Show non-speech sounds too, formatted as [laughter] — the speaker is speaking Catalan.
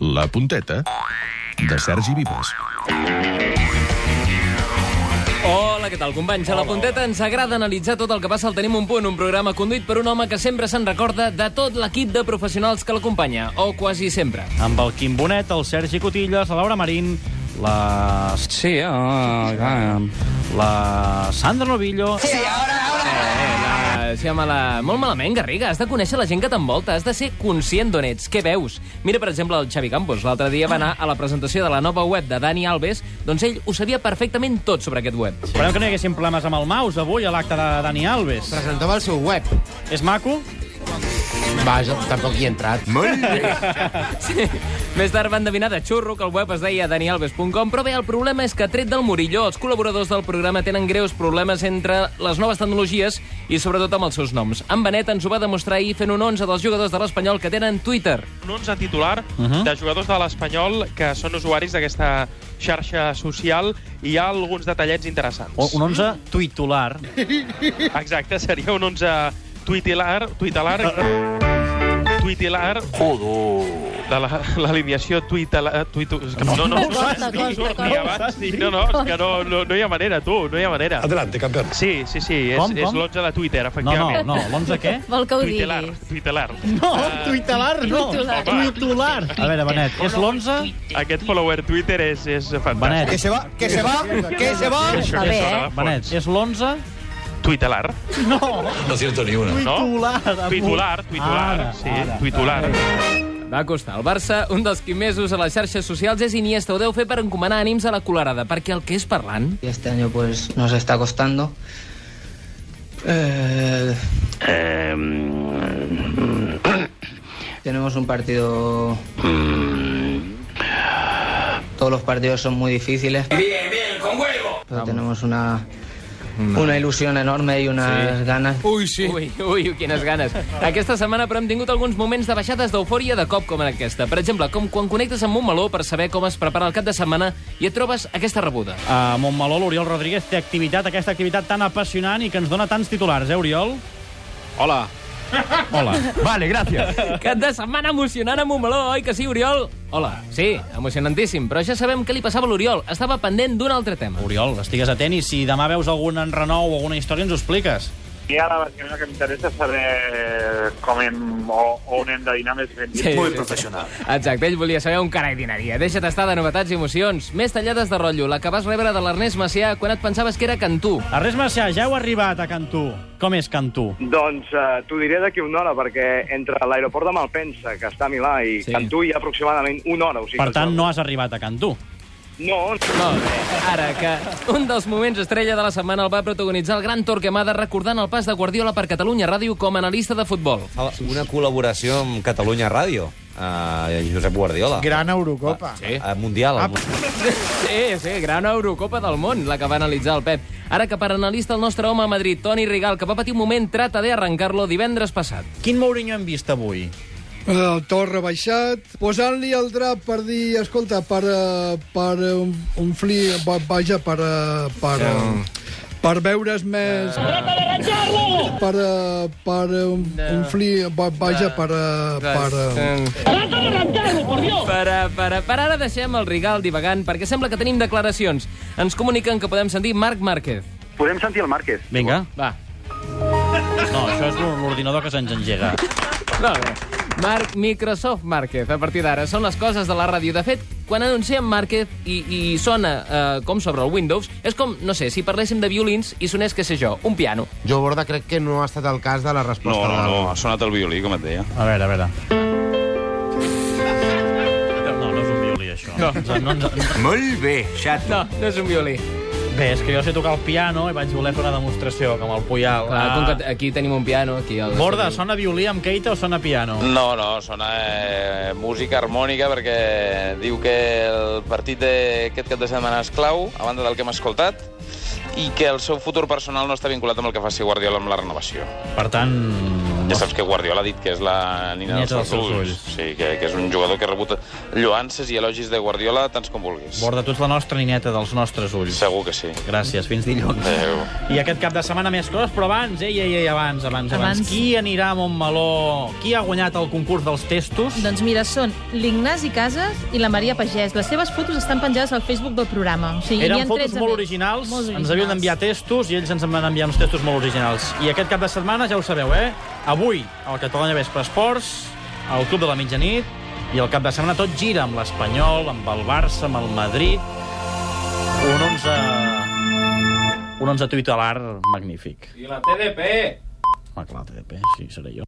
La punteta de Sergi Vives. Hola, què tal, companys? A la Punteta ens agrada analitzar tot el que passa al Tenim un punt, un programa conduït per un home que sempre se'n recorda de tot l'equip de professionals que l'acompanya, o quasi sempre. amb el Quim Bonet, el Sergi Cotillas, la Laura Marín, la... Sí, uh, la Sandra Novillo... Sí. Eh, la... la... Molt malament, Garriga. Has de conèixer la gent que t'envolta. Has de ser conscient d'on ets. Què veus? Mira, per exemple, el Xavi Campos. L'altre dia va anar a la presentació de la nova web de Dani Alves, doncs ell ho sabia perfectament tot sobre aquest web. Esperem que no hi haguessin problemes amb el mouse avui a l'acte de Dani Alves. Presentava el seu web. És maco? Vaja, tampoc hi he entrat. Molt bé. [laughs] Sí. Més tard van endevinar de xurro que el web es deia danialves.com, però bé, el problema és que, tret del Murillo, els col·laboradors del programa tenen greus problemes entre les noves tecnologies i, sobretot, amb els seus noms. En Benet ens ho va demostrar ahir fent un 11 dels jugadors de l'Espanyol que tenen Twitter. un 11 titular uh Mhm. -huh. de jugadors de l'Espanyol que són usuaris d'aquesta xarxa social i hi ha alguns detallets interessants. O un 11 titular. Exacte, seria un 11 tuitelar, tuitelar, tuitelar de la- l'alineació tuitela... Tuitu... és que No, no, no, no, Consta, ni- consta, ni consta. abans, ni- no, no, és que no, no, no hi ha manera, tu, no hi ha manera. Adelante, campeón. Sí, sí, sí, és, Com, és com? l'11 de Twitter, No, no, efectivament. no, l'11 què? Vol que ho Tuitelar, diguis. tuitelar. No, tuitelar no. Titular. Tutelar. A veure, Benet, és l'11? Aquest follower Twitter és, és fantàstic. Benet, Que se va, que se va, que se va. Això Està que sona bé, eh? de fons. Benet, és l'11? Tuitelar. No, No cierto ni una. No? tutelar. Tuitular, tuitular, Ara, sí, ara. tuitular. Va costar. El Barça, un dels qui més usa les xarxes socials és Iniesta. Ho deu fer per encomanar ànims a la colerada, perquè el que és parlant... Y este año pues nos está costando. Eh, [coughs] tenemos un partido... Todos los partidos son muy difíciles. Bien, bien, con huevo. Pero tenemos una, una ilusión enorme y unas ganas. Ui, sí. Ui, ui, quines ganes. Aquesta setmana, però, hem tingut alguns moments de baixades d'eufòria de cop com en aquesta. Per exemple, com quan connectes amb un meló per saber com es prepara el cap de setmana i et trobes aquesta rebuda. A Montmeló, l'Oriol Rodríguez té activitat, aquesta activitat tan apassionant i que ens dona tants titulars, eh, Oriol? [laughs] Hola. Hola. Vale, gràcies. Cap de setmana emocionant amb un meló, oi que sí, Oriol? Hola, sí, emocionantíssim, però ja sabem què li passava a l'Oriol. Estava pendent d'un altre tema. Oriol, estigues atent i si demà veus algun enrenou o alguna història ens ho expliques. I ara la Barcelona que m'interessa és saber com hem, o, on hem de dinar més ben dit. Molt professional. Exacte, ell volia saber un carai dinaria. Deixa't estar de novetats i emocions. Més tallades de rotllo, la que vas rebre de l'Ernest Macià quan et pensaves que era Cantú. Ernest Macià, ja heu arribat a Cantú. Com és Cantú? Doncs eh, t'ho diré d'aquí una hora, perquè entre l'aeroport de Malpensa, que està a Milà, i Sí. sí. Cantú hi ha aproximadament una hora. O sigui, Per tant, no has arribat a Cantú. No, Molt bé. Ara que un dels moments estrella de la setmana el va protagonitzar el gran Torquemada recordant el pas de Guardiola per Catalunya Ràdio com a analista de futbol. Una col·laboració amb Catalunya Ràdio, eh, Josep Guardiola. Gran Eurocopa. Sí. Eh, mundial. Ah, Sí, sí, gran Eurocopa del món, la que va analitzar el Pep. Ara que per analista el nostre home a Madrid, Toni Rigal, que va patir un moment, trata de arrencar-lo divendres passat. Quin Mourinho hem vist avui? Eh, El to rebaixat, posant-li el drap per dir, escolta, per, eh, per eh, omplir, va- vaja, per, eh, per, eh, per veure's més... Per, eh, per eh, omplir, va- vaja, per, eh, per, eh, Per, eh, per, eh, per ara deixem el Rigal divagant, perquè sembla que tenim declaracions. Ens comuniquen que podem sentir Marc Márquez. podem sentir el Márquez. Vinga. Va, No, això és l'ordinador que se'ns engega. Molt bé. Marc Microsoft Márquez, a partir d'ara. Són les coses de la ràdio. De fet, quan anunciem Márquez i, i sona eh, com sobre el Windows, és com, no sé, si parléssim de violins i sonés, què sé jo, un piano. Jo, Borda, crec que no ha estat el cas de la resposta. No, no, no. A veure, a veure. No, no és un violí, això. No. No, no, Molt bé. No, no és un violí. Bé, és que jo sé tocar el piano i vaig voler fer una demostració, com el Puyal. Ah, Clar, com que aquí tenim un piano, aquí... Al... Borda, sona violí amb Keita o sona piano? No, no, sona eh, música harmònica perquè diu que el partit d'aquest Eh, cap de setmana és clau, a banda del que hem escoltat, i que el seu futur personal no està vinculat amb el que faci Guardiola amb la renovació. Per tant, Ja saps que Guardiola ha dit que és la nina dels Nieta seus dels seus ulls. Sí, que, que és un jugador que ha rebut lloances i elogis de Guardiola tants com vulguis. Borda, tu ets la nostra nineta dels nostres ulls. Segur que sí. Gràcies, fins dilluns. Adéu. I aquest cap de setmana més coses, però abans, ei, ei, ei, abans, abans, abans. Abans. Qui anirà a Montmeló? Qui ha guanyat el concurs dels testos? Doncs mira, són l'Ignasi Casas i la Maria Pagès. Les seves fotos estan penjades al Facebook del programa. O sigui, n'hi Eren ha fotos 13 molt més. originals, Molt ens havien d'enviar testos i ells ens en van enviar uns testos molt originals. I aquest cap de setmana, ja ho sabeu, eh? Avui, al Catalunya Vespre Esports, al Club de la Mitjanit, i el cap de setmana tot gira amb l'Espanyol, amb el Barça, amb el Madrid... Un 11... Un 11 tuitelar magnífic. I la TDP! Home, clar, TDP, sí, seré jo.